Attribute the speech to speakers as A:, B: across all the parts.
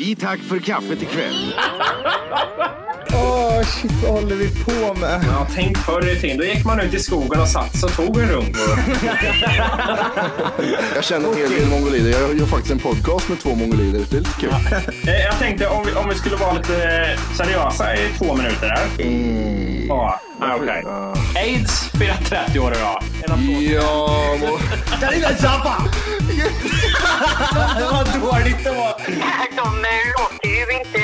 A: I tack för kaffet ikväll.
B: Åh, Ah, shit, vad håller vi på med?
C: Ja, tänk förr i tiden. Då gick man ut i skogen och satt sig och tog en runk.
D: Jag känner en hel del mongolider. Jag gör faktiskt en podcast med två mongolider. Det är lite kul.
C: Eh, Jag tänkte om vi, om vi skulle vara lite eh, seriösa i två minuter där.
B: Mm.
C: Ja, ah, okej. Aids firar 30 år idag. En applåd.
D: Ja, må...
C: Vad dåligt det var.
E: De eh, låter ju inte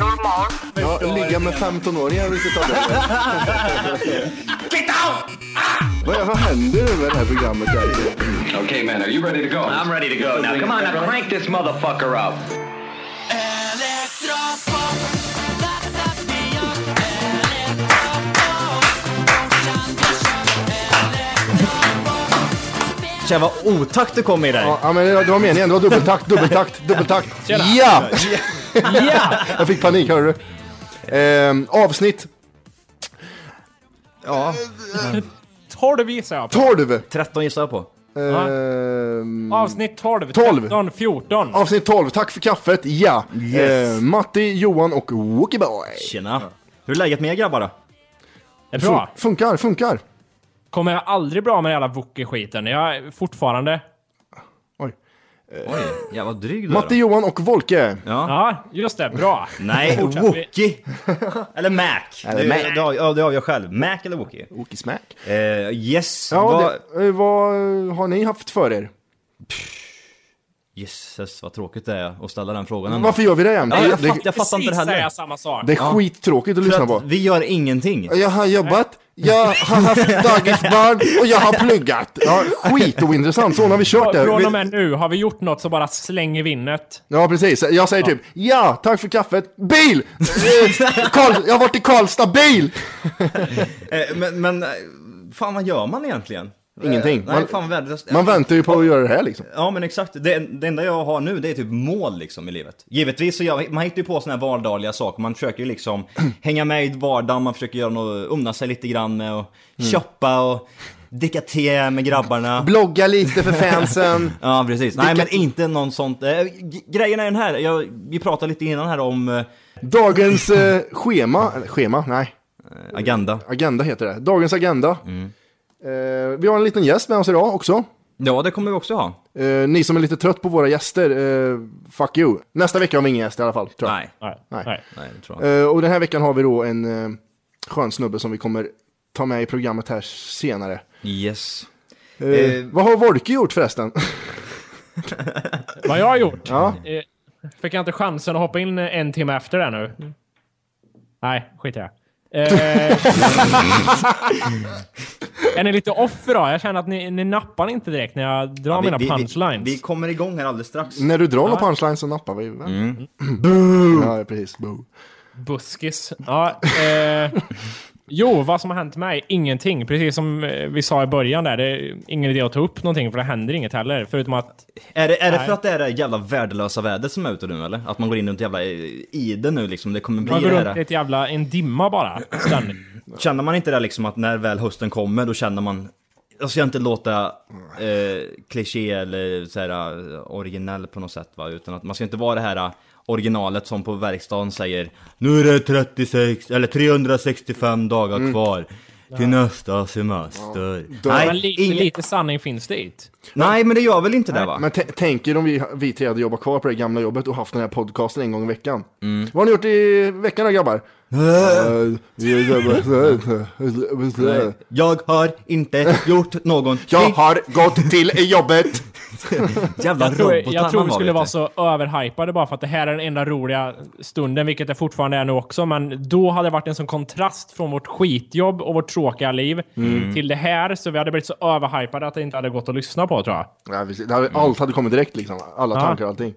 E: normalt.
D: ja, ligga med 15-åringar vilket av det är. Vad, vad händer nu med det här programmet? Där?
F: Okay, man, are you ready to go? I'm ready to go. Now, come on, now crank this motherfucker up.
B: Tja, vad otakt du kom i där.
D: Ja, men det var meningen. Det var dubbeltakt, dubbeltakt, dubbeltakt. Ja!
B: Ja!
D: Jag fick panik, hörde du. Ehm, avsnitt
B: ja.
G: 12 gissar jag på.
D: 12.
B: 13 gissar jag på.
D: Ehm,
B: Mm.
G: Avsnitt 12.
D: 12.
G: 13, 14.
D: avsnitt 12. Tack för kaffet. Ja.
B: Yes.
D: Ehm, Matti, Johan och Wookieboy.
B: Tjena. Hur är läget med er grabbar?
G: Det är bra.
D: Fun- funkar, funkar.
G: Kommer jag aldrig bra med den jävla Wookie-skiten. Jag är fortfarande...
B: Oj, jävla dryg du är
D: Matti,
B: då.
D: Johan och Volke.
G: Ja, just det. Bra.
B: Nej,
G: Fortsätt.
B: Wookie! Eller Mac.
D: Eller
B: det,
D: Mac.
B: Det, av- ja, det avgör jag själv. Mac eller Wookie?
D: Wookismack.
B: Eh, yes,
D: Ja,
B: vad...
D: det, eh, vad har ni haft för er?
B: Jesus, vad tråkigt det är att ställa den frågan ändå.
D: Varför gör vi det jämt?
B: Mm. Ja, jag,
D: det,
B: fatt, jag fattar inte det
G: Precis säger
B: heller.
G: jag samma sak.
D: det är skittråkigt att
B: För
D: lyssna
B: att
D: på.
B: vi gör ingenting.
D: Jag har jobbat, jag har haft dagisbarn och jag har pluggat. Ja, skit ointressant, så nu har vi kört det.
G: Från och
D: Vi-
G: med nu, har vi gjort något så bara slänger vi in det.
D: Ja, precis. Jag säger typ, ja, tack för kaffet. Bil! Eh, Karl, jag har varit i Karlstad, bil!
B: Eh, men, men, eh, fan vad gör man egentligen?
D: Ingenting.
B: Eh, nej,
D: Man-
B: fan vad värdelöst.
D: Man väntar ju på att göra det här liksom.
B: Ja men exakt, det, det enda jag har nu det är typ mål liksom i livet. Givetvis så gör, man hittar ju på såna här vardagliga saker, man försöker ju liksom hänga med i vardagen, man försöker göra något, umna sig lite grann med och
D: Mm.
B: shoppa och dricka te med grabbarna.
D: Blogga lite för fansen.
B: Ja precis, nej
D: Dricka-
B: men inte någon sånt. Eh, g- grejen är den här, jag, vi pratade lite innan här om eh,
D: Dagens eh, schema, eller schema, nej,
B: agenda.
D: agenda heter det. Dagens agenda. Eh, vi har en liten gäst med oss idag också.
B: Ja det kommer vi också ha.
D: Eh, ni som är lite trött på våra gäster, eh, fuck you. Nästa vecka har vi ingen gäst i alla fall, tror jag.
B: Nej,
G: Nej.
D: Nej.
G: Nej.
B: nej det tror jag inte.
D: Eh, och den här veckan har vi då en eh, skön snubbe som vi kommer ta med i programmet här senare.
B: Yes.
D: Eh,
B: Eh.
D: vad har Wolke gjort förresten?
G: Vad jag har gjort?
D: ja.
G: Eh, Fick jag inte chansen att hoppa in en timme efter det nu? Nej, skit i det. Eh, är ni lite off idag? Jag känner att ni, ni nappar inte direkt när jag drar
B: Ja, vi-
G: mina
B: vi- vi-
G: punchlines.
B: Vi kommer igång här alldeles strax.
D: När du drar någon punchline så nappar vi. Mm. ja, precis. Boo.
G: Buskis. Ja, eh, jo, vad som har hänt mig? Ingenting. Precis som eh, vi sa i början där. Det är ingen idé att ta upp någonting för det händer inget heller. Förutom att...
B: Är det, är det
G: Nej.
B: för att det är det jävla värdelösa vädret som är ute nu eller? Att man går in i ett jävla eh, ide nu liksom, det kommer
G: Man går
B: bli det
G: runt i
B: här.
G: ett jävla... En dimma bara. Ständigt.
B: Känner man inte det liksom att när väl hösten kommer då känner man alltså, jag ska inte låta eh, kliché eller så här, eh, originell på något sätt va, utan att man ska inte vara det här eh, originalet som på verkstaden säger Nu är det 36 eller 365 dagar kvar till nästa semester.
G: Men
B: Nej,
G: lite,
B: ingen,
G: lite sanning finns det i det.
B: nej men det gör väl inte det va?
D: Men t- tänk er om vi, vi tre hade jobbat kvar på det gamla jobbet och haft den här podcasten en gång i veckan.
G: Mm.
D: Vad har ni gjort i veckan då grabbar? Eh, vi
B: Nej,
D: jobbar-
B: Jag har inte gjort någonting.
D: Jag har gått till jobbet!
B: Jävla
G: Jag tror,
B: robotar
G: jag tror
B: man
G: vi
B: var, typ.
G: skulle
B: vet
G: vara
B: du.
G: så överhypade bara för att det här är den enda roliga stunden, vilket det fortfarande är nu också. Men då hade det varit en sån kontrast från vårt skitjobb och vårt tråkiga liv
B: Mm.
G: till det här, så vi hade blivit så överhypade att det inte hade gått att lyssna på tror jag.
D: Ja, precis. Det hade- Allt hade kommit direkt liksom, alla
G: Ja. Mm.
D: tankar och allting.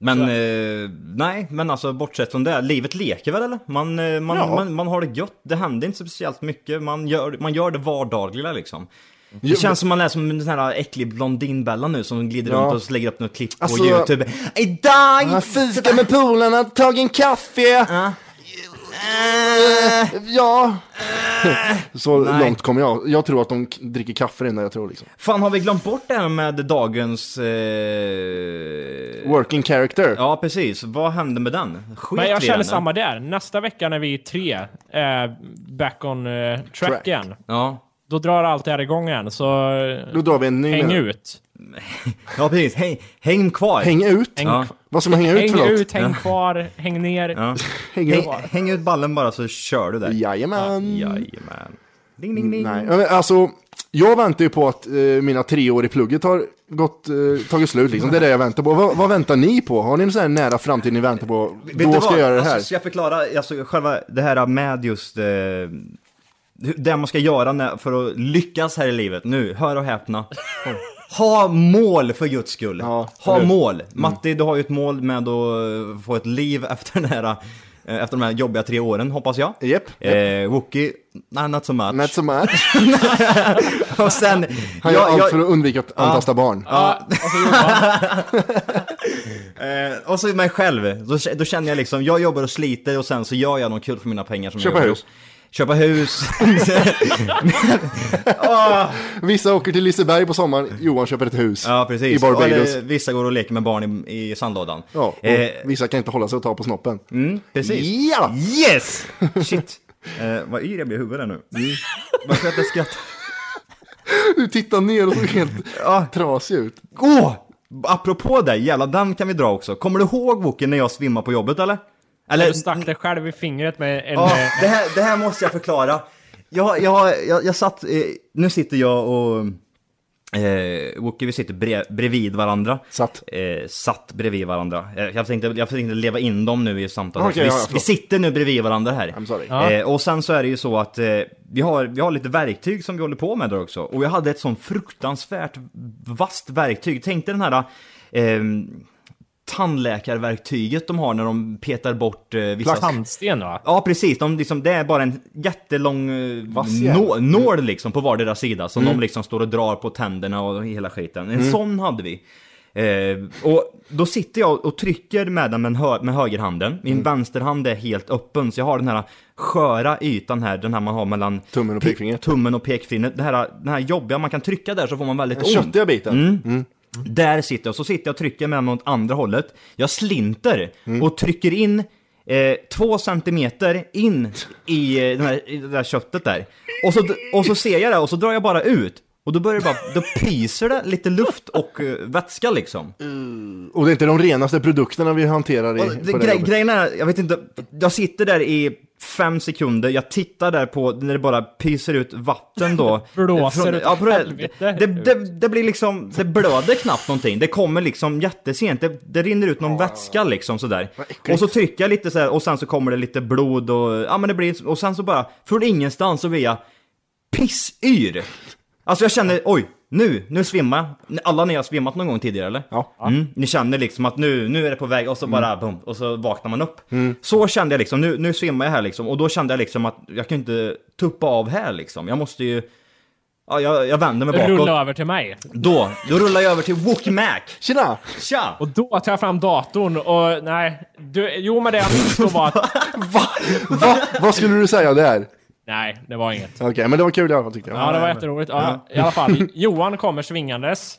B: Men eh, nej, men alltså bortsett från det, livet leker väl eller? Man, eh, man,
D: Ja.
B: man, man har det gött, det händer inte speciellt mycket, man gör, man gör det vardagliga liksom.
D: Jo,
B: Det känns som man är som en sån här äcklig blondinbella nu som glider
D: Ja.
B: runt och lägger upp något klipp
D: Alltså-
G: Alltså-
B: på youtube. Idag!
D: fika med polarna, tagit en kaffe.
B: Ja. Eh,
D: Ja.
G: Äh.
D: Så långt kommer jag. Jag tror att de k- dricker kaffe innan jag tror liksom.
B: Fan, har vi glömt bort det här med dagens... Eh...
D: Working character.
B: Ja, precis. Vad hände med den? Skit
G: Men jag
B: i
G: känner
B: den.
G: samma där. Nästa vecka när vi är tre eh, back on eh, track,
D: Track.
G: igen,
B: Ja.
G: då drar allt det här igång igen. Så eh,
D: Då drar vi en ny.
G: häng
D: nu.
G: ut.
B: ja, precis. Häng, häng kvar.
D: Häng ut?
G: Häng,
B: Ja.
D: Vad ska man hänga ut för
G: häng
D: något?
G: ut, häng kvar, häng ner.
B: Ja.
D: Häng
B: Häng,
D: ut.
B: häng ut ballen bara så kör du där.
D: Jajamän.
B: Jajamän. Ding, ding, ding.
D: Nej, men alltså, jag väntar ju på att eh, mina tre år i plugget har gått, eh, tagit slut. Liksom. Det är det jag väntar på. Vad- vad väntar ni på? Har ni en sån här nära framtid ni väntar på?
B: Vet du
D: Då ska
B: vad?
D: jag göra det här.
B: Alltså, ska jag förklara alltså, själva det här med just eh, hur- det man ska göra när, för att lyckas här i livet. Nu, hör och häpna. Ha mål för guds skull.
D: Ja, Mm.
B: ha
D: eller-
B: mål. Matti, du har ju ett mål med att eh, få ett liv efter, den här, eh, efter de här jobbiga tre åren, hoppas jag.
D: Japp.
B: Eh, Wookie, nej, not so much.
D: Not so much.
B: och sen,
D: Han gör
B: jag- jag-
D: allt för att undvika att antasta barn.
G: Ja, och så Ah, alltså, Johan.
B: Eh, och så mig själv, då, då känner jag liksom, jag jobbar och sliter och sen så gör jag något kul för mina pengar som
D: Köpa
B: jag gör.
D: hus.
B: Köpa hus.
D: Vissa åker till Liseberg på sommaren. Johan köper ett hus
B: ja, precis.
D: i Barbados.
B: Eller, vissa går och leker med barn i, i sandlådan.
D: Ja, och
B: eh,
D: vissa kan inte hålla sig och ta på snoppen.
B: mm, precis.
D: Ja!
B: Yes! Shit. Eh, vad yr jag blir i huvudet nu. Mm. Varför att jag skrattar?
D: Du tittar ner och såg helt trasig ut.
B: Åh! apropå det, jävla den kan vi dra också. Kommer du ihåg Woken när jag svimmade på jobbet eller? Eller,
G: Du stack dig själv i fingret med en...
B: Ja,
G: eh,
B: det, här, det här måste jag förklara. Jag, jag, jag, jag satt, eh, nu sitter jag och eh, Wookie, vi sitter bre, bredvid varandra.
D: Satt.
B: Eh, satt bredvid varandra. Eh, Jag tänkte, jag tänkte leva in dem nu i samtalet.
D: Okej,
B: vi,
D: ja, ja, förlåt.
B: vi sitter nu bredvid varandra här.
D: I'm sorry.
G: Ja.
B: Eh, och sen så är det ju så att eh, vi, har, vi har lite verktyg som vi håller på med där också. Och jag hade ett sån fruktansvärt vasst verktyg. Tänk dig den här eh, tandläkarverktyget de har när de petar bort eh, vissa...
G: Tandsten va?
B: Ja precis, de liksom, det är bara en jättelång eh,
D: Vassjävel.
B: nå, nål liksom på vardera sida som
D: Mm.
B: de liksom står och drar på tänderna och hela skiten. En sån hade vi. Eh, och då sitter jag och trycker med den med, hö med högerhanden. Min
D: Mm.
B: vänsterhand är helt öppen så jag har den här sköra ytan här, den här man har mellan
D: Tummen och
B: pe-
D: pekfingret.
B: Tummen och pekfingret. Det här, den här jobbiga, man kan trycka där så får man väldigt
D: Den
B: ont.
D: köttiga biten.
B: Mm. Där sitter jag, så sitter jag och trycker med den åt andra hållet. Jag slinter och trycker in eh, två centimeter in i, eh, den här, i det där köttet där. Och så, och så ser jag det och så drar jag bara ut. Och då börjar det bara, då pyser det lite luft och eh, vätska liksom.
D: Och det är inte de renaste produkterna vi hanterar i,
B: Och
D: på det
B: det, gre
D: jobbet.
B: grejen är, jag vet inte, jag sitter där i fem sekunder, jag tittar där på när det bara pyser ut vatten då.
G: Blåser åt
B: ja, på det,
G: helvete
B: det, det, det blir liksom, det blöder knappt någonting. Det kommer liksom jättesent, det, det rinner ut
D: Ah.
B: någon vätska liksom sådär. Och så trycker jag lite så här och sen så kommer det lite blod och, ja men det blir, och sen så bara, från ingenstans så blir jag pissyr. Alltså jag känner, oj, nu, nu svimmar jag. Alla ni har svimmat någon gång tidigare eller?
D: Ja.
B: Mm, ni känner liksom att nu, nu är det på väg och så
G: Mm.
B: bara boom, och så vaknar man upp. Så kände jag liksom, nu, nu svimmar jag här liksom och då kände jag liksom att jag kan inte tuppa av här liksom. Jag måste ju, ja jag, jag vänder mig bakåt.
G: Rulla över till mig.
B: Då, då rullar jag över till Wook Mac.
D: Tjena!
B: Tja!
G: Och då tar jag fram datorn och nej. Du, jo men det jag minns då var att...
D: Va? Va? Vad skulle du säga där?
G: Nej, det var inget.
D: Okej, men det var kul i alla fall tyckte jag.
G: Ja, det var jätteroligt. Ja, I alla fall, Johan kommer svingandes.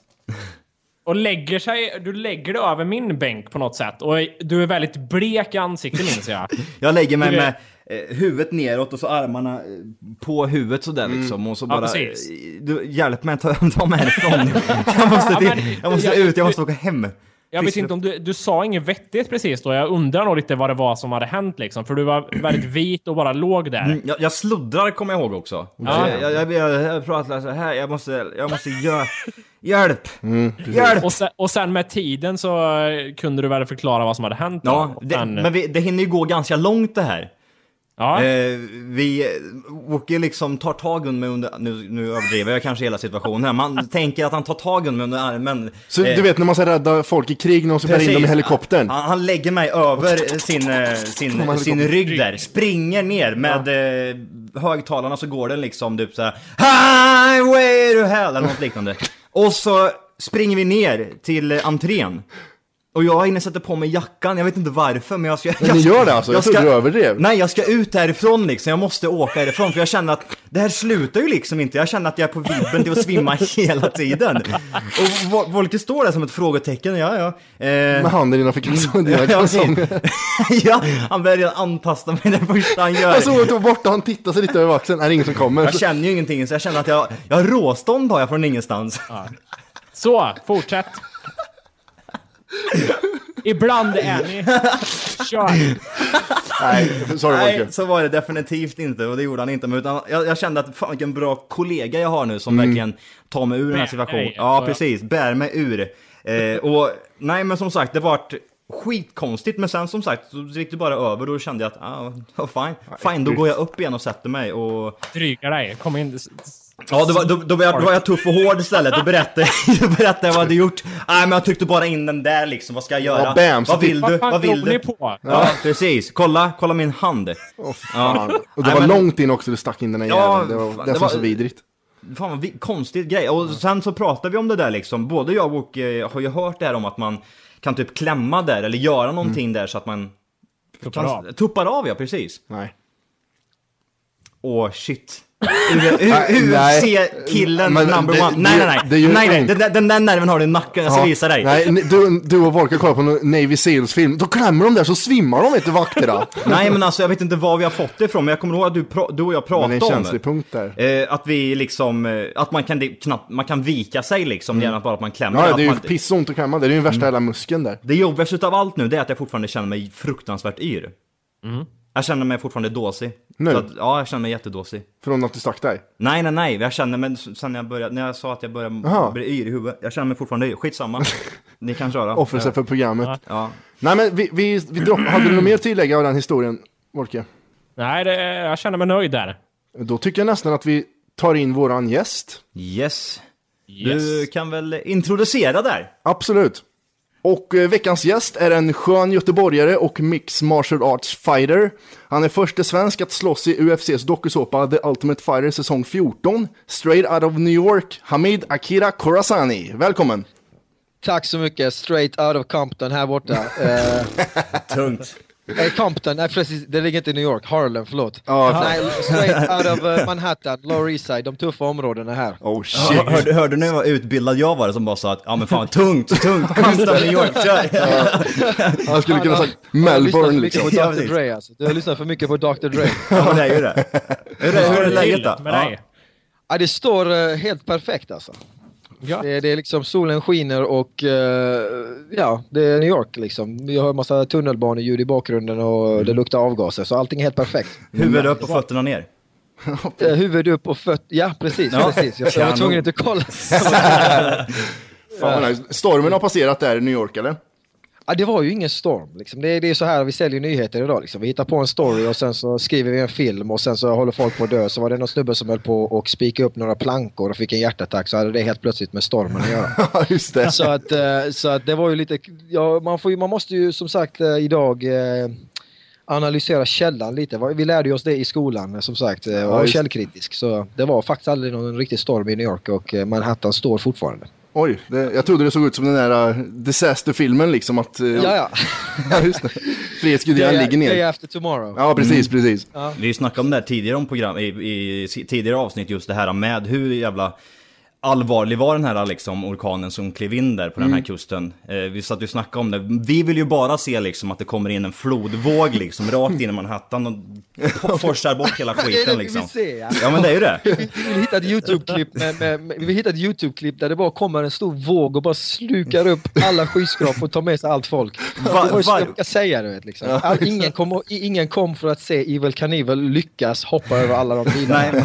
G: Och lägger sig, du lägger dig över min bänk på något sätt. Och du är väldigt blek i ansiktet minns jag.
B: Jag lägger mig
G: Du
B: med
G: vet-
B: eh, huvudet neråt och så armarna eh, på huvudet sådär liksom och så bara...
G: Mm. precis.
B: eh, du, hjälp mig, ta, ta mig härifrån. jag måste,
G: Ja,
B: till,
G: men-
B: jag måste
G: jag-
B: ut, jag måste åka hem.
G: Jag vet inte om du, du sa inget vettigt precis då. Jag undrar nog lite vad det var som hade hänt liksom. För du var väldigt vit och bara låg där.
B: Mm, Jag, jag sluddrar kommer jag ihåg också.
G: Ja.
B: Jag, jag, jag, jag, jag pratar så här, jag måste, jag måste göra... Hjälp! Hjälp!
G: Och, sen, och sen med tiden så eh, kunde du väl förklara vad som hade hänt. då.
B: Ja,
G: Och
B: det,
G: sen-
B: men vi, det hinner ju gå ganska långt det här.
G: ja.
B: Eh, vi, Wookie liksom tar tag under mig under, nu, nu överdriver jag kanske hela situationen här, man tänker att han tar tag under mig under armen.
D: Så
B: Eh,
D: du vet när man ska rädda folk i krig när de ska bära in dem i helikoptern?
B: Han, han lägger mig över sin, eh, sin, sin
D: helikopter.
B: rygg där, springer ner med eh, högtalarna så går den liksom typ såhär Highway to hell eller något liknande. Och så springer vi ner till eh, entrén. Och jag hinner sätta på mig jackan, jag vet inte varför men jag ska... Jag,
D: ni gör det alltså? Jag trodde du överdrev.
B: Nej, jag ska ut härifrån liksom, jag måste åka härifrån för jag känner att det här slutar ju liksom inte. Jag känner att jag är på vibben till att svimma hela tiden. Och Vol- Volker står där som ett frågetecken, ja ja. Eh,
D: Med handen innanför kalsongen, dina
B: Mm. ja,
D: kalsonger.
B: ja, han börjar redan antasta mig det första han gör.
D: Jag såg att du var borta, han tittade sig lite över axeln. Är det ingen som kommer?
B: Jag känner ju ingenting så jag känner att jag, jag har råstånd har jag från ingenstans.
G: Så, fortsätt. Ibland är ni... Kör.
D: Nej, sorry
B: Nej,
D: Volker.
B: så var det definitivt inte och det gjorde han inte. Men utan jag, jag kände att fan vilken bra kollega jag har nu som verkligen tar mig ur den här
G: Bär
B: situationen.
G: dig,
B: Ja,
G: så ja.
B: precis. Bär mig ur. Eh, och nej, men som sagt, det vart skitkonstigt. Men sen som sagt, så gick det bara över. Då kände jag att, ah, vad fine. Fine, då går jag upp igen och sätter mig. Och...
G: Dryga dig. Kom in.
B: Ja, då var, då, då, var jag, då var jag tuff och hård istället. Då berättade, då berättade jag vad jag hade gjort. Nej, men jag tryckte bara in den där liksom. Vad ska jag göra?
D: Ja, bam, så
B: vad vill
D: fick-
B: du?
G: Vad
B: Vad
G: fan
B: vill
G: glor
B: du?
G: ni på?
B: Ja, precis. Kolla, kolla min hand.
D: Åh, fan. Och det
B: Nej,
D: var
B: men-
D: långt in också, du stack in den här
B: Ja,
D: jäveln. Det var
B: fan,
D: det
B: det
D: som var
B: var-
D: så vidrigt.
B: Fan vad vi- konstig grej. Och sen så pratade vi om det där liksom. Både jag och eh, har ju hört det här om att man kan typ klämma där eller göra
D: Mm.
B: någonting där så att man
G: Tuppar
B: kan...
G: av.
B: tuppar av. ja precis.
D: Nej.
B: Åh shit. UFC-killen
D: Men
B: number
D: det-
B: one.
D: det-
B: Nej nej
D: det
B: nej.
D: gör
B: nej, nej.
D: ont.
B: Den, där- den där nerven har du i nacken, jag ska
D: Ja.
B: visa dig. Nej.
D: Nej, ni- du, du och Volker kollar på en Navy Seals-film. Då klämmer de där så svimmar de vet du vakterna.
B: men alltså jag vet inte var vi har fått det ifrån men jag kommer ihåg att du, pra- du och jag
D: Men det
B: pratade
D: är en
B: om
D: känslig punkt där.
B: Eh, att vi liksom, eh, att man kan, det- knappt, man kan vika sig liksom, mm. bara att man klämmer.
D: Ja,
B: att
D: det är ju
B: man,
D: pissont att klämma. Det är ju den
B: Mm.
D: värsta hela muskeln där.
B: Det jobbigaste utav allt nu det är att jag fortfarande känner mig fruktansvärt yr. Jag känner mig fortfarande dåsig.
D: Nu?
B: Så att, ja, jag känner mig jättedåsig.
D: Från att du stack dig.
B: Nej, nej, nej. Jag känner mig sen jag började, när jag sa att jag började
D: Jaha.
B: bli yr i huvudet. Jag känner mig fortfarande yr. Skitsamma. Ni kan köra.
D: Offra sig för programmet.
B: Ja.
D: Nej men vi, vi, vi dropp, hade du något mer att tillägga av den historien, Volke?
G: Nej, det, jag känner mig nöjd där.
D: Då tycker jag nästan att vi tar in våran gäst.
B: Yes. Du
G: Yes.
B: kan väl introducera där?
D: Absolut. Och eh, veckans gäst är en skön göteborgare och mix martial arts fighter. Han är förste svensk att slåss i UFCs dokusåpa The Ultimate Fighter säsong 14, straight out of New York, Hamid Akira Khorasani. Välkommen!
H: Tack så mycket. Straight out of Compton här borta. Eh,
B: Tungt.
H: nej, Compton, nej precis, det ligger inte i New York. Harlem, förlåt.
D: Ja.
H: Nej, straight out of eh, Manhattan, Lower East Side, de tuffa områdena här.
D: Oh
B: Hör,
D: shit!
B: hörde, hörde ni vad utbildad jag var som bara sa att ja men fan tungt, tungt, Kasta New York, kör!
D: Han skulle kunna
H: Fan,
D: sagt
H: du har lyssnat
D: Melbourne
H: för mycket
D: liksom.
H: på
B: Ja,
H: Dr.
B: precis.
H: Dre alltså. Du har lyssnat för mycket på Dr. Dre.
B: Ja men det är ju det. Hur är, hur är läget då?
G: Med
B: Ja.
G: dig.
H: Ja, det står eh, helt perfekt alltså.
G: Ja.
H: Det, det är liksom solen skiner och eh, ja, det är New York liksom. Vi har en massa tunnelbaneljud i bakgrunden och
D: Mm.
H: det luktar avgaser, så allting är helt perfekt.
B: Huvud upp och fötterna ner.
H: Eh, Huvud upp och fötter, ja precis,
B: Ja.
H: precis. Jag, jag var
B: Kanon.
H: tvungen att kolla.
D: Fan, vad nice. Stormen har passerat där i New York eller?
H: Ja, det var ju ingen storm. Liksom. Det, är- det är så här vi säljer nyheter idag. Liksom. Vi hittar på en story och sen så skriver vi en film och sen så håller folk på att dö. Så var det någon snubbe som höll på och spika upp några plankor och fick en hjärtattack så hade det helt plötsligt med stormen att göra.
D: Ja just det.
H: Så att, eh, så att det var ju lite... Ja, man, får ju, man måste ju som sagt eh, idag eh, analysera källan lite. Va- Vi lärde ju oss det i skolan eh, som sagt eh, och vara
D: just-
H: källkritisk. Så det var faktiskt aldrig någon riktig storm i New York och eh, Manhattan står fortfarande.
D: Oj, det, jag trodde det såg ut som den där eh, disaster-filmen liksom att... eh,
H: Ja, ja.
D: ja, just det. Frihetsgudinnan
H: Day,
D: ligger
H: day
D: ner.
H: after tomorrow.
D: Ja precis, precis.
B: Vi snackade om det här tidigare, om program, i, i si- tidigare avsnitt, just det här med hur jävla allvarlig var den här liksom, orkanen som klev in där på den här
H: Mm.
B: kusten. Eh, vi satt ju och snackade om det. Vi vill ju bara se liksom, att det kommer in en flodvåg liksom, rakt in i Manhattan och po- forsar bort hela
H: det
B: skiten
H: vi
B: liksom.
H: vill se, ja.
B: Ja men det är ju det.
H: Vi hittade ett YouTube-klipp med, med, med, vi hittade ett YouTube-klipp där det bara kommer en stor våg och bara slukar upp alla skyskrapor och tar med sig allt folk.
B: Va-
H: det var ju så
B: var-
H: jag brukar säga du vet. Liksom. All, ingen, kom, och- i- ingen kom för att se Evil Knievel lyckas hoppa över alla de bilarna.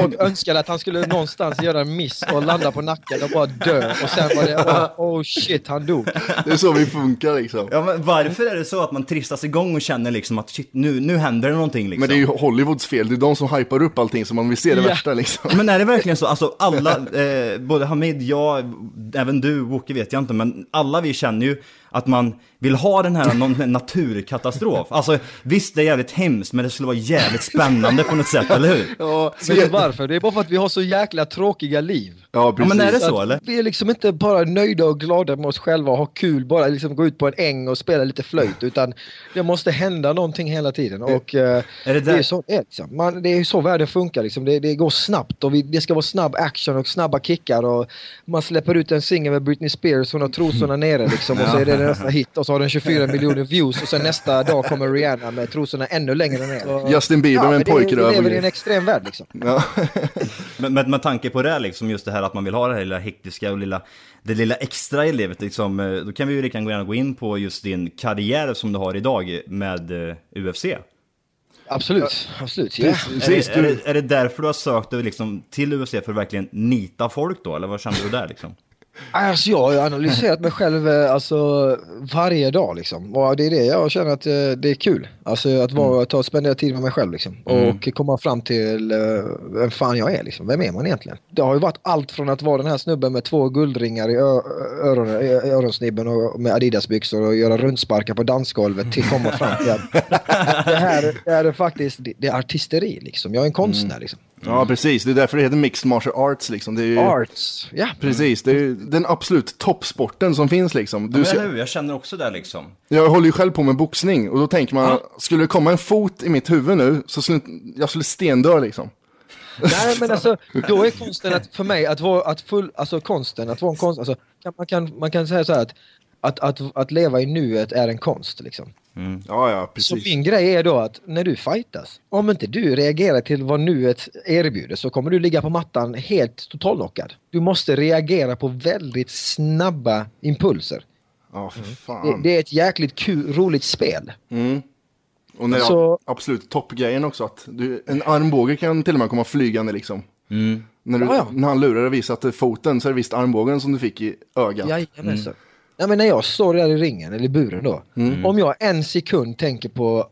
H: Folk önskade att han skulle någonstans göra en miss och landa på nacken och bara dö. Och sen var det oh, oh shit, han dog.
D: Det är så vi funkar liksom.
B: Ja, men varför är det så att man tristas igång och känner liksom att shit, nu, nu händer det någonting liksom?
D: Men det är ju Hollywoods fel, det är de som hypar upp allting så man vill se det
H: Ja.
D: värsta liksom.
B: Men är det verkligen så? Alltså alla, eh, både Hamid, jag, även du, Woke vet jag inte, men alla vi känner ju att man vill ha den här någon naturkatastrof. Alltså visst, det är jävligt hemskt, men det skulle vara jävligt spännande på något sätt, eller hur?
D: Ja,
H: Vet du varför? Det är bara för att vi har så jäkla tråkiga liv.
D: Ja,
B: Ja,
D: precis.
B: men är det
H: att
B: så eller?
H: Vi är liksom inte bara nöjda och glada med oss själva och ha kul, bara liksom gå ut på en äng och spela lite flöjt, utan det måste hända någonting hela tiden. Och, eh,
B: Är det
H: det är
B: där?
H: så det är, liksom. Man, det är ju så världen funkar. Liksom. Det, det går snabbt och vi, det ska vara snabb action och snabba kickar. Och man släpper ut en singel med Britney Spears, hon har trosorna nere liksom, och så är det nästa hit och så har den 24 miljoner views och sen nästa dag kommer Rihanna med trosorna ännu längre ner.
D: Justin Bieber med
H: men
D: en
H: det är-
D: pojkröv.
H: Vi
D: och
H: lever i en
D: grejer.
H: extrem värld liksom.
D: Ja.
B: Men med, med tanke på det här, liksom, just det här att man vill ha det här lilla hektiska och lilla, det lilla extra i livet. Liksom, eh, då kan vi ju lika gärna gå in på just din karriär som du har idag med eh, UFC.
H: Absolut, absolut. Ja.
D: Precis,
B: är, det, är,
D: du,
B: det, är det därför du har sökt dig liksom, till UFC för att verkligen nita folk då? Eller vad kände du där liksom?
H: Alltså jag har ju analyserat mig själv eh, alltså, varje dag liksom. Och det är det jag känner att eh, det är kul. Alltså att
D: Mm.
H: vara, ta, spendera tid med mig själv liksom. Och komma fram till eh, vem fan jag är liksom. Vem är man egentligen? Det har ju varit allt från att vara den här snubben med två guldringar i ö- öronen, i öronsnibben och med Adidas-byxor och göra rundsparkar på dansgolvet till komma fram till att det här, det här är faktiskt, det, det är artisteri liksom. Jag är en konstnär liksom.
D: ja, precis. Det är därför det heter mixed martial arts liksom. Mm. Det är ju,
H: Arts, ja.
D: Precis, det är ju den absolut toppsporten som finns liksom. Du,
B: Men,
D: ser-
B: eller hur? Jag känner också det liksom.
D: Jag håller ju själv på med boxning och då tänker man, skulle det komma en fot i mitt huvud nu så skulle jag skulle stendö liksom.
H: Nej men alltså, då är konsten att, för mig att vara, att full, alltså konsten, att vara en konst, alltså, kan- man, kan, man kan säga så här att, att, att, att leva i nuet är en konst liksom.
D: Ja, ja,
H: Så
D: precis.
H: min grej är då att när du fightas, om inte du reagerar till vad nuet erbjuder så kommer du ligga på mattan helt totallockad. Du måste reagera på väldigt snabba impulser.
D: Ja, för fan.
H: Mm. Det, det är ett jäkligt kul, roligt spel.
D: och när
H: alltså-
D: absolut toppgrejen också, att du, en armbåge kan till och med komma flygande liksom.
B: Mm.
D: När, du,
H: Ja, ja.
D: när han lurar och visar att det är foten så är det visst armbågen som du fick i ögat.
H: Jajamensan. Mm. Ja, men när jag står där i ringen, eller i buren då. Om jag en sekund tänker på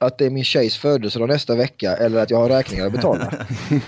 H: att det är min tjejs födelsedag nästa vecka eller att jag har räkningar att betala.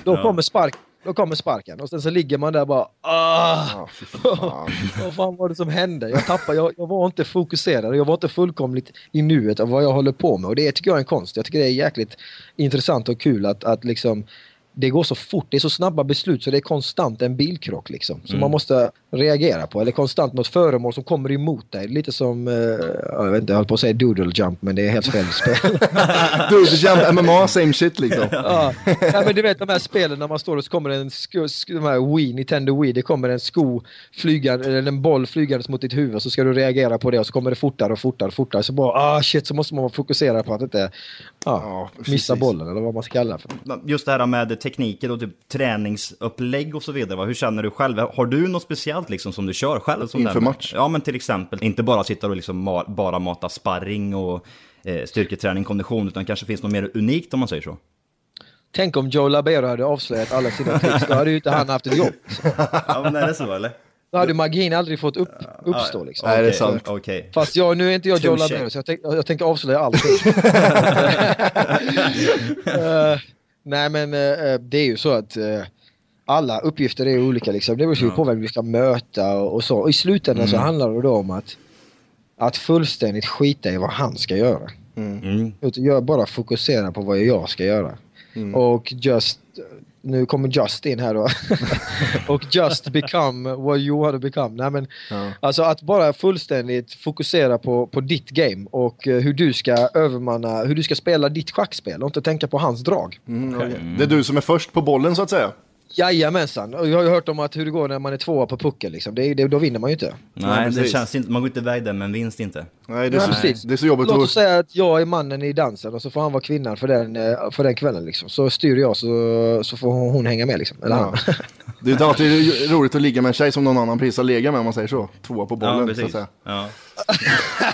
H: då, kommer spark, då kommer sparken och sen så ligger man där bara ah!
D: Ja, fy fan.
H: Vad fan var det som hände? Jag tappade, jag, jag var inte fokuserad och jag var inte fullkomligt i nuet av vad jag håller på med. Och det tycker jag är en konst. Jag tycker det är jäkligt intressant och kul att, att liksom det går så fort, det är så snabba beslut så det är konstant en bilkrock liksom. Som man måste reagera på. Eller konstant något föremål som kommer emot dig. Lite som, eh, jag vet inte, jag höll på att säga doodle jump men det är helt fel spel.
D: du, du kämpar MMA, same shit liksom.
H: Ja. ja, men du vet de här spelen när man står och så kommer en sko, sko, de här Wii, Nintendo Wii, det kommer en sko flygande, eller en boll flygandes mot ditt huvud så ska du reagera på det och så kommer det fortare och fortare och fortare. Så bara ah shit så måste man fokusera på att inte
D: Ja,
H: ja,
D: precis.
H: missa bollen eller vad man ska kalla det för.
B: Just det här med tekniker och typ träningsupplägg och så vidare. Va? Hur känner du själv? Har du något speciellt liksom som du kör själv? Som
D: Inför
B: den?
D: match?
B: Ja, men till exempel. Inte bara sitta och liksom ma- bara mata sparring och eh, styrketräning, kondition, utan kanske finns något mer unikt om man säger så.
H: Tänk om Joe Labero hade avslöjat alla sina tricks, då hade ju inte han haft ett jobb.
B: Ja, men är det så eller?
H: Då hade magin aldrig fått upp, uppstå liksom.
D: Nej, det är
B: Okej,
D: sant.
B: Okej.
H: Fast jag, nu är inte jag Joe
B: Touché.
H: Labero, så jag, tänk, jag, jag tänker avslöja allting. Eh, nej, men eh, det är ju så att eh, alla uppgifter är olika. Liksom. Det beror ju på vem vi ska möta och, och så. Och I slutändan så handlar det då om att, att fullständigt skita i vad han ska göra.
B: Mm.
H: Utan jag bara fokuserar på vad jag ska göra. Och just, nu kommer just in här då. och just become what you want to become. Nej, men, Alltså att bara fullständigt fokusera på, på ditt game och eh, hur du ska övermanna, hur du ska spela ditt schackspel och inte tänka på hans drag.
D: Mm, okej. Det är du som är först på bollen så att säga.
H: Jajamensan, och jag har ju hört om att hur det går när man är tvåa på pucken liksom. det, är- det, då vinner man ju inte.
D: Nej,
B: Nej, det
D: precis.
B: känns inte, man går inte iväg där med en vinst inte.
D: Nej, det är,
H: Nej,
D: så,
H: precis.
D: det är så jobbigt
H: Låt oss
D: att...
H: säga att jag är mannen i dansen och så får han vara kvinnan för den, eh, för den kvällen. Liksom. Så styr jag så, så får hon, hon hänga med. Liksom. Eller
D: Ja.
H: han.
D: Det är inte alltid roligt att ligga med en tjej som någon annan precis har legat med om man säger så. Tvåa på bollen så att säga.
B: Ja.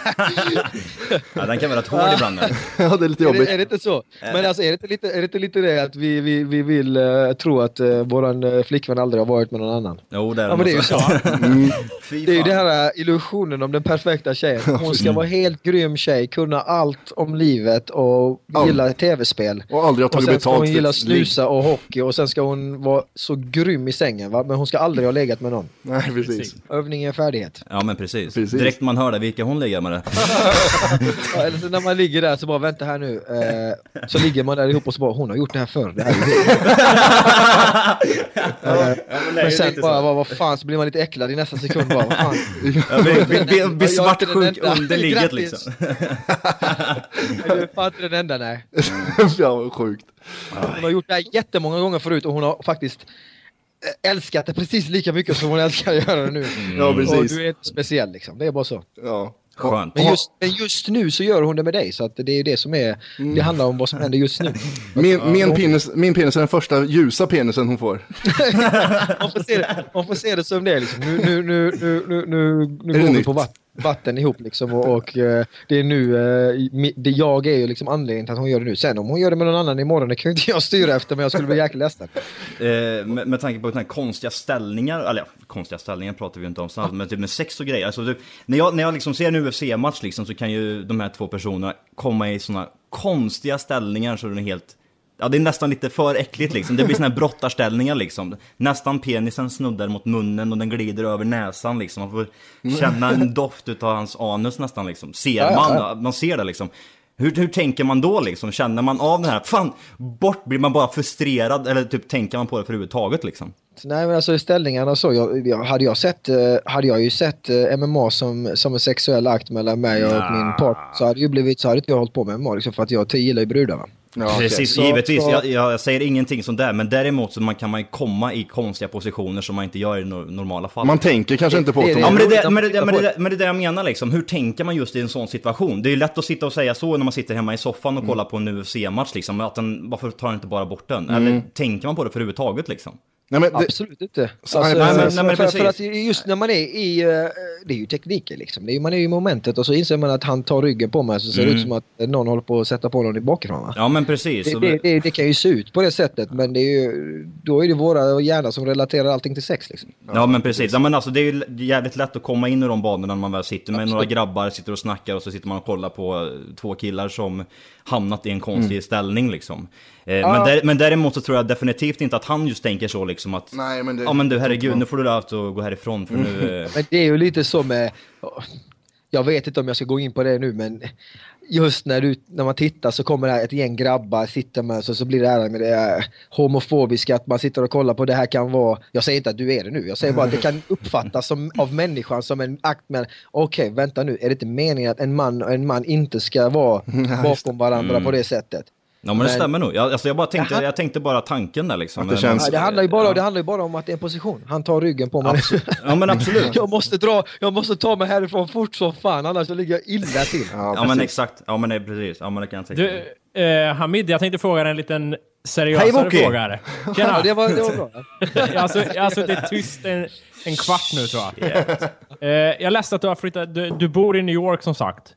B: ja, den kan vara rätt hård ibland. men.
D: Ja, det är lite
H: Är
D: jobbigt.
H: det, är det inte så? Men alltså, är, det inte lite, är det inte lite det att vi, vi, vi vill eh, tro att uh, våran eh, flickvän aldrig har varit med någon annan?
B: Jo, det är
H: Ja men det är ju så.
D: Mm.
B: Fy
H: Det är ju
B: fan.
H: den här äh, illusionen om den perfekta tjejen. Hon ska vara helt grym tjej, kunna allt om livet och
D: Ja.
H: gilla tv-spel.
D: Och aldrig ha
H: Och
D: tagit
H: sen ska hon
D: betalt
H: gilla
D: ett ligg.
H: snusa och hockey och sen ska hon vara så grym i sängen va? men hon ska aldrig ha legat med någon.
D: Nej, precis.
H: Övning är färdighet.
B: Ja men precis.
D: Precis.
B: Direkt man hör det, vilka hon ligger med det.
H: Ja, eller så när man ligger där så bara vänta här nu. Eh, så ligger man där ihop och så bara hon har gjort det här förr. Det här är
B: Ja,
H: ju Eh,
B: men det är
H: men
B: ju
H: sen
B: lite
H: bara
B: så.
H: vad, vad fan så blir man lite äcklad i nästa sekund bara. Vad fan.
B: Ja, blir- blir- blir-
H: Jag är
B: Blir
H: inte
B: svartsjuk
H: den enda.
B: underligget
H: Grattis.
B: liksom.
H: Du är fan inte den enda nej.
D: ja, vad sjukt.
H: Hon har gjort det här jättemånga gånger förut och hon har faktiskt eh, älskat det precis lika mycket som hon älskar att göra det nu.
B: Mm.
D: Ja,
H: Mm. Och
D: precis.
H: du är inte speciell liksom, det är bara så.
D: Ja.
B: Skönt.
H: Men just, men just nu så gör hon det med dig, så att det är det som är...
B: Mm.
H: Det handlar om vad som händer just nu.
D: Min, min, penis, min penis är den första ljusa penisen hon får.
H: Man får se det, man får se det som det är liksom. Nu, nu, nu, nu, nu, nu,
D: Är
H: nu
D: det
H: går vi
D: nytt?
H: på vatten, vatten ihop liksom och, och eh, det är nu... eh, mi- Det jag är ju liksom anledningen till att hon gör det nu. Sen om hon gör det med någon annan imorgon, det kan ju inte jag styra efter, men jag skulle bli jäkligt ledsen.
B: Eh, med, med tanke på den här konstiga ställningar, eller ja, konstiga ställningar pratar vi ju inte om snabbt, men typ med sex och grejer. Alltså, typ, när, jag, när jag liksom ser en UFC-match liksom, så kan ju de här två personerna komma i såna konstiga ställningar så den är helt... Ja, det är nästan lite för äckligt liksom. Det blir såna här brottarställningar liksom. Nästan penisen snuddar mot munnen och den glider över näsan liksom. Man får känna en doft utav hans anus nästan liksom. Ser man, man ser det liksom. Hur, hur tänker man då liksom? Känner man av den här, fan, bort blir man bara frustrerad eller typ tänker man på det för överhuvudtaget liksom?
H: Nej men alltså i ställningarna och så, jag, jag, hade, jag sett, eh, hade jag ju sett eh, MMA som, som en sexuell akt mellan mig och min partner så hade ju blivit så hade inte jag hållit på med MMA liksom, för att jag gillar ju brudar va.
D: Ja, okej.
B: Precis,
H: Så-
B: givetvis.
H: så-
B: Jag, jag, jag säger ingenting sånt där, men däremot så man kan man ju komma i konstiga positioner som man inte gör i no- normala fall.
D: Man tänker kanske inte på
H: Det-
D: det.
H: det-
B: Ja,
D: Ja,
B: men det, är
H: roligt
B: det,
H: att
B: men, det,
H: titta
B: men, det,
H: på
B: men, det, men det är det jag menar liksom. Hur tänker man just i en sån situation? Det är ju lätt att sitta och säga så när man sitter hemma i soffan och
H: Mm.
B: kollar på en UFC-match liksom. Att den, varför tar den inte bara bort den?
H: Mm.
B: Eller tänker man på det för överhuvudtaget liksom?
D: Nej, men det,
H: Absolut inte. Alltså,
D: Så- nej, men-
B: nej, men
H: för,
B: precis.
H: för att just när man är i, eh, det är ju tekniken liksom, det är, ju- man är ju i momentet och så inser man att han tar ryggen på mig så ser det ut som att någon håller på att sätta på någon i bakifrån va.
B: Ja, men precis.
H: Det,
B: Och-
H: det, det, det kan ju se ut på det sättet men det är ju, då är det våra hjärnor som relaterar allting till sex liksom.
B: Ja men precis, ja, men alltså, det är ju jävligt lätt att komma in i de banorna när man väl sitter med några grabbar, sitter och snackar och så sitter man och kollar på eh, två killar som hamnat i en konstig
D: Mm.
B: ställning liksom. Eh, men, där, men däremot så tror jag definitivt inte att han just tänker så liksom att
D: Nej, men det-
B: Ja men du herregud, nu får du lov att gå härifrån för
D: Mm.
B: nu... eh,
H: Men det är ju lite som med... Jag vet inte om jag ska gå in på det nu, men just när, du, när man tittar så kommer det här ett gäng grabbar sitter med så, så blir det här med det här homofobiska, att man sitter och kollar på det här kan vara... Jag säger inte att du är det nu, jag säger bara att det kan uppfattas som, av människan som en akt men okej, vänta nu, är det inte meningen att en man och en man inte ska vara bakom varandra på det sättet?
B: ja men det
H: Men-
B: stämmer nog. Jag, alltså, jag, bara tänkte,
H: Jaha.
B: jag tänkte bara tanken där liksom.
D: Att det
B: Men-
D: känns-
H: Ja, det, handlar ju bara, det handlar ju bara om att det är en position. Han tar ryggen på mig.
B: Ja men absolut.
H: Jag måste, dra, jag måste ta mig härifrån fort som fan, annars så ligger jag illa till.
B: Ja men exakt, ja men det, precis. Ja men det kan jag tänka mig.
G: Du, eh, Hamid, jag tänkte fråga dig en liten seriösare
B: Hej, Woki!
G: fråga här.
H: Ja,
G: Tjena!
H: det var, det var bra.
G: jag, har, sutt- jag har suttit tyst en, en kvart nu tror jag. Eh, jag läste att du har flyttat, du, du bor i New York som sagt.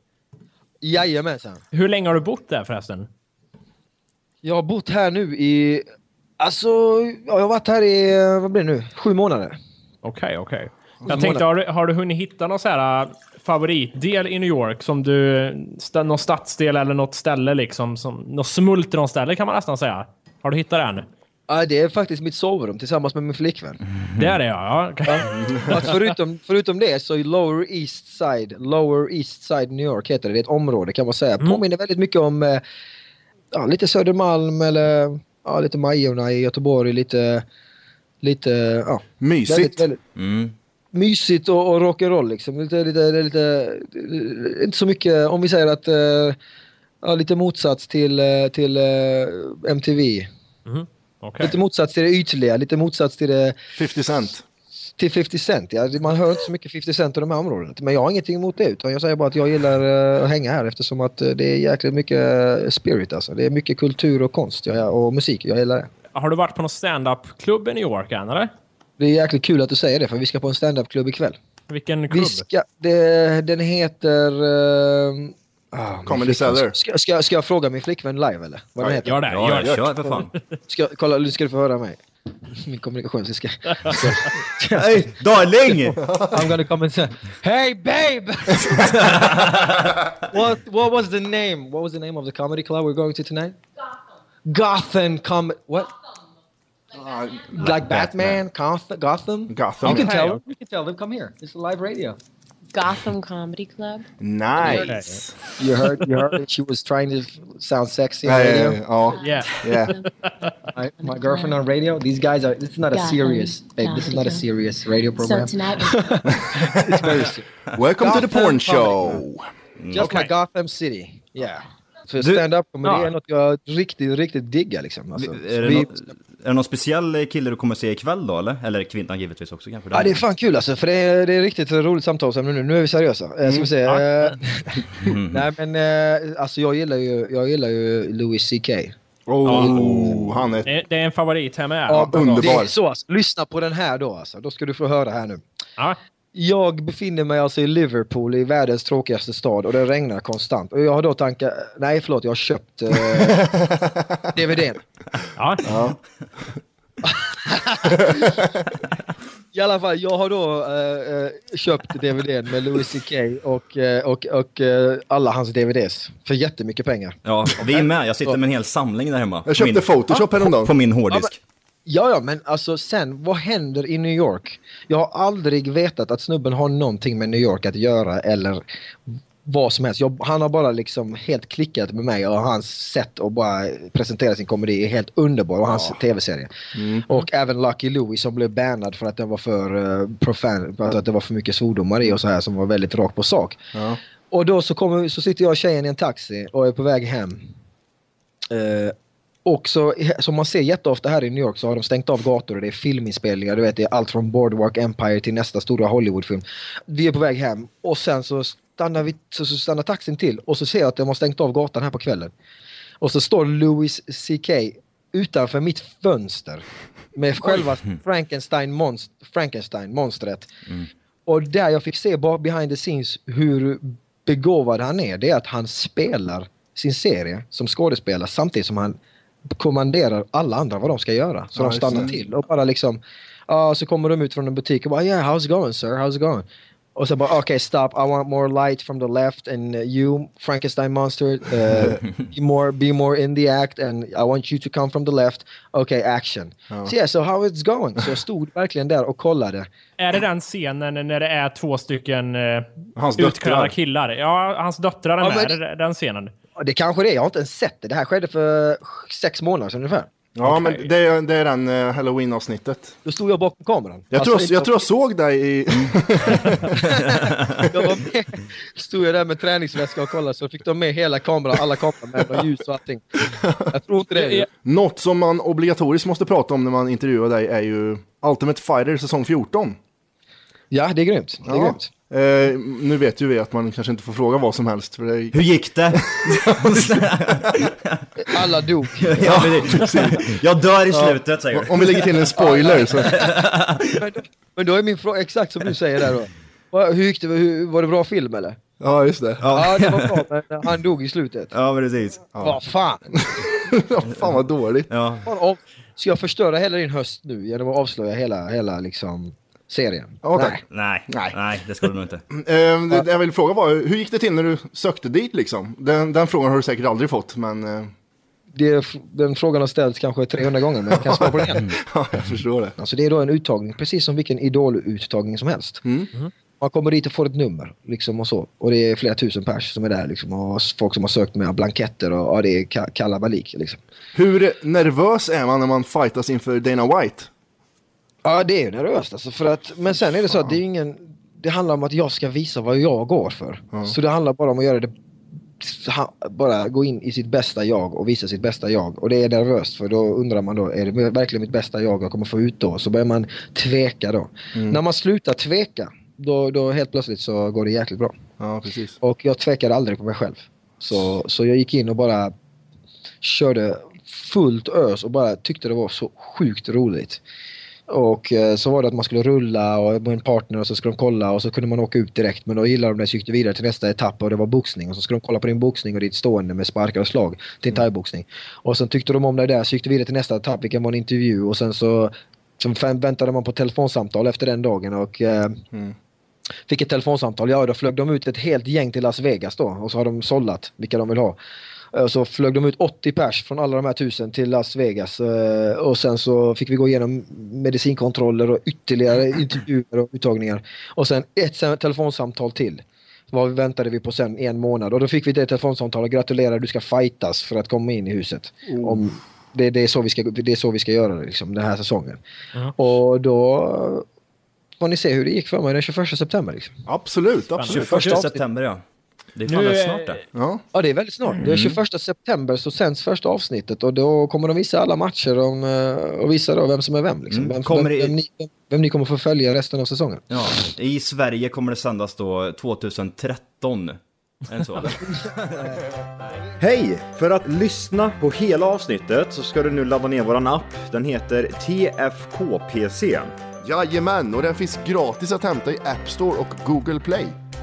H: Jajamensan.
G: Hur länge har du bott där förresten?
H: Jag har bott här nu i... Alltså, ja, jag har varit här i, vad blir det nu, sju månader.
G: Okej, okej. Jag tänkte, har du, har du hunnit hitta någon så här äh, favoritdel i New York? Som du, st- någon stadsdel eller något ställe liksom? Som, något smultronställe kan man nästan säga. Har du hittat det än?
H: Ja, det är faktiskt mitt sovrum tillsammans med min flickvän.
G: Det är det ja. ja.
H: Att förutom, förutom det så är Lower East Side, Lower East Side New York heter det. Det är ett område kan man säga. Påminner väldigt mycket om eh, ja, lite Södermalm eller ja, lite Majorna i Göteborg. Lite, lite ja,
D: mysigt.
H: Väldigt, väldigt
B: Mm.
H: Mysigt och, och rock'n'roll liksom. Lite, lite, det är lite, eh, inte så mycket, om vi säger att, eh, ja, lite motsats till, eh, till eh, MTV.
G: Okej.
H: Lite motsats till det ytliga, lite motsats till, det,
D: 50 cent.
H: till 50 Cent. Ja. Man hör inte så mycket 50 Cent i de här områdena. Men jag har ingenting emot det, utan jag säger bara att jag gillar eh, att hänga här eftersom att eh, det är jäkligt mycket eh, spirit alltså. Det är mycket kultur och konst jag, och musik, jag gillar det.
G: Har du varit på någon stand-up-klubb i New York än eller?
H: Det är jäkligt kul att du säger det, för vi ska på en stand-up-klubb ikväll.
G: Vilken klubb?
H: Vi ska, det, den heter... ehm, ah, min
D: Comedy
H: flickvän-
D: Cellar.
H: Ska, ska, ska jag fråga min flickvän live eller? Vad den heter?
G: Gör det,
B: Ja,
G: gör det.
B: kör för fan.
H: Ska, kolla, nu ska du få höra mig. Min kommunikationsfiska.
B: Hej, darling!
H: I'm gonna come and say, Hey babe! what, what was the name? What was the name of the comedy club we're going to tonight? Gotham. Gotham com... What? like Batman, Gotham. Gotham.
D: Gotham.
H: You can
G: Okay,
H: tell
G: okay.
H: them. You can tell them. Come here. It's live radio.
I: Gotham Comedy Club.
D: Nice!
H: You heard, you heard that she was trying to sound sexy on
D: Ja, ja,
H: radio?
D: ja, Eh, ja.
G: Yeah.
D: yeah.
H: My, my girlfriend on radio? These guys are, this is not a
I: Yeah,
H: serious,
I: um,
H: babe, this is not a
I: yeah.
H: serious radio program.
I: So tonight, we're-
H: It's very serious.
D: Welcome to the
H: Gotham
D: porn
H: Comedy
D: show!
H: Just
G: Okej.
H: like Gotham City. Yeah. För
B: Du-
H: stand-up comedy
G: Ja.
H: är något jag riktigt, riktigt diggar liksom. Alltså.
B: Är, det
H: Vi-
B: nå- är det någon speciell kille du kommer se ikväll då eller? Eller kvinna givetvis också kanske?
H: Ja, det är fan kul alltså, för det är, det är riktigt roligt samtalsämne nu. Nu är vi seriösa. Mm. Ska vi se. eh, Nej, men eh, alltså jag gillar ju, jag gillar ju Louis CK.
D: Oh, han
B: Eh.
D: är...
G: Det det är en favorit här med.
D: Ja,
H: Det
D: underbar.
H: är så alltså. Lyssna på den här då alltså. Då ska du få höra här nu.
G: Ja.
H: Jag befinner mig alltså i Liverpool, i världens tråkigaste stad och det regnar konstant. Och jag har då tankat... Nej, förlåt, jag har köpt eh, DVDn.
G: Ja.
H: I alla fall, jag har då eh, eh, köpt DVDn med Louis CK och, eh, och, och eh, alla hans DVDs för jättemycket pengar.
B: Ja, vi är med. Jag sitter med en hel samling där hemma.
D: Jag
B: På min-
D: köpte Photoshop häromdagen.
B: På min hårddisk.
H: Ja, ja, men alltså sen, vad händer i New York? Jag har aldrig vetat att snubben har någonting med New York att göra eller vad som helst. Jag, han har bara liksom helt klickat med mig och hans sätt att bara presentera sin komedi är helt underbar och hans tv-serie. Och även Lucky Louie som blev bannad för att den var för eh, profan, för att det var för mycket svordomar i och så här som var väldigt rakt på sak.
D: Ja.
H: Och då så, kommer, så sitter jag och tjejen i en taxi och är på väg hem. Eh, och så, som man ser jätteofta här i New York så har de stängt av gator och det är filminspelningar. Du vet, det är allt från Boardwalk Empire till nästa stora Hollywoodfilm. Vi är på väg hem och sen så stannar, vi, så, så stannar taxin till och så ser jag att de har stängt av gatan här på kvällen. Och så står Louis CK utanför mitt fönster med själva Frankenstein monst Frankenstein, monstret. Och där jag fick se bara behind the scenes hur begåvad han är, det är att han spelar sin serie som skådespelare samtidigt som han kommanderar alla andra vad de ska göra. Så
D: Ja,
H: de
D: just
H: stannar
D: det.
H: till och bara liksom, ja så kommer de ut från en butik och bara yeah how's it going sir, how's it going? Och så bara okej okay, stop, I want more light from the left and uh, you Frankenstein monster uh, be, more, be more in the act and I want you to come from the left, okay action. So yeah, so how it's going? Så jag stod verkligen där och kollade.
G: Är det den scenen när det är två stycken eh,
D: Hans döttrar.
G: utklädda killar? Ja, hans döttrar är
H: Ja,
G: med.
H: men-
G: Är det den scenen?
H: Ja, Det kanske det är. Jag har inte ens sett det. Det här skedde för sex månader sedan ungefär.
D: Ja, men det är, det är den eh, halloween-avsnittet.
H: Då stod jag bakom kameran.
D: Jag, tror,
H: Alltså,
D: jag, jag tror jag såg dig i...
H: Mm. jag var med. Stod jag där med träningsväska och kollade så fick de med hela kameran, alla kameror med ljus och allting. Jag tror inte det.
D: Något som man obligatoriskt måste prata om när man intervjuar dig är ju Ultimate Fighter säsong 14.
H: Ja, det är grymt. Det är
D: Ja.
H: grymt.
D: Eh, nu vet ju vi att man kanske inte får fråga vad som helst. För det är...
B: Hur gick det?
H: Alla dog.
B: Ja, jag dör i slutet säger du.
D: Om vi lägger till en spoiler så...
H: Men då, men då är min fråga, exakt som du säger där då. Va, Hur gick det? Hur, var det bra film eller?
D: Ja, just det.
H: Ja, det var bra, men han dog i slutet.
B: Ja, precis.
H: Vad fan!
D: Fan vad dåligt.
B: Ja.
H: Fan, av- Ska jag förstöra hela din höst nu genom att avslöja hela, hela liksom, serien?
D: Ja, tack.
H: Nej. Mm.
B: Nej,
D: Nej.
B: nej, det ska du nog inte.
D: Eh, det, det jag vill fråga var, hur gick det till när du sökte dit liksom? Den, den frågan har du säkert aldrig fått, men... Eh,
H: det, den frågan har ställts kanske 300 gånger, men jag kan svara på den igen.
D: ja, jag förstår det.
H: Alltså det är då en uttagning, precis som vilken idoluttagning som helst.
D: Mm.
H: Man kommer dit och får ett nummer, liksom och så. Och det är flera tusen pers som är där, liksom. Och folk som har sökt med blanketter och, och det är ka- kalabalik, liksom.
D: Hur nervös är man när man fightas inför Dana White?
H: Ja, det är ju nervöst alltså, för att, men sen är det så att det är ingen... Det handlar om att jag ska visa vad jag går för. Så det handlar bara om att göra det... ha- Bara gå in i sitt bästa jag och visa sitt bästa jag. Och det är nervöst för då undrar man då, är det verkligen mitt bästa jag jag kommer få ut då? Så börjar man tveka då.
D: Mm.
H: När man slutar tveka, då, då helt plötsligt så går det jäkligt bra.
D: Ja, precis.
H: Och jag tvekade aldrig på mig själv. Så, så jag gick in och bara körde fullt ös och bara tyckte det var så sjukt roligt. Och eh, så var det att man skulle rulla och med en partner och så skulle de kolla och så kunde man åka ut direkt men då gillade de det så gick det vidare till nästa etapp och det var boxning och så skulle de kolla på din boxning och ditt stående med sparkar och slag till en thaiboxning. Och sen tyckte de om det där så gick det vidare till nästa etapp vilken var en intervju och sen så sen fan- väntade man på telefonsamtal efter den dagen och eh,
D: Mm.
H: Fick ett telefonsamtal. Ja, då flög de ut ett helt gäng till Las Vegas då och så har de sållat vilka de vill ha. Eh, Så flög de ut 80 pers från alla de här tusen till Las Vegas. eh, Och sen så fick vi gå igenom medicinkontroller och ytterligare intervjuer och uttagningar. Och sen ett sen- telefonsamtal till. Vad väntade vi på sen? En månad. Och då fick vi det telefonsamtalet. Gratulerar, du ska fightas för att komma in i huset. Om det, det, är så vi ska, det är så vi ska göra det, liksom, den här säsongen.
G: Ja.
H: Och då får ni se hur det gick för mig den 21 september. Liksom.
D: Absolut, absolut.
B: 21 september ja. Det är fan
G: Nu
B: rätt
G: är-
B: snart det.
D: Ja.
H: Ja, det är väldigt snart.
B: Mm.
H: Det är 21 september så sänds första avsnittet och då kommer de visa alla matcher om, eh, och visa då vem som är vem. Liksom.
B: Mm.
H: Vem,
B: Kommer
H: vem,
B: det-
H: vem, ni, vem ni kommer få följa resten av säsongen.
B: Ja. I Sverige kommer det sändas då 2013. Än så.
I: Hej! För att lyssna på hela avsnittet så ska du nu ladda ner våran app. Den heter TFKPC.
D: Jajamän, och den finns gratis att hämta i App Store och Google Play.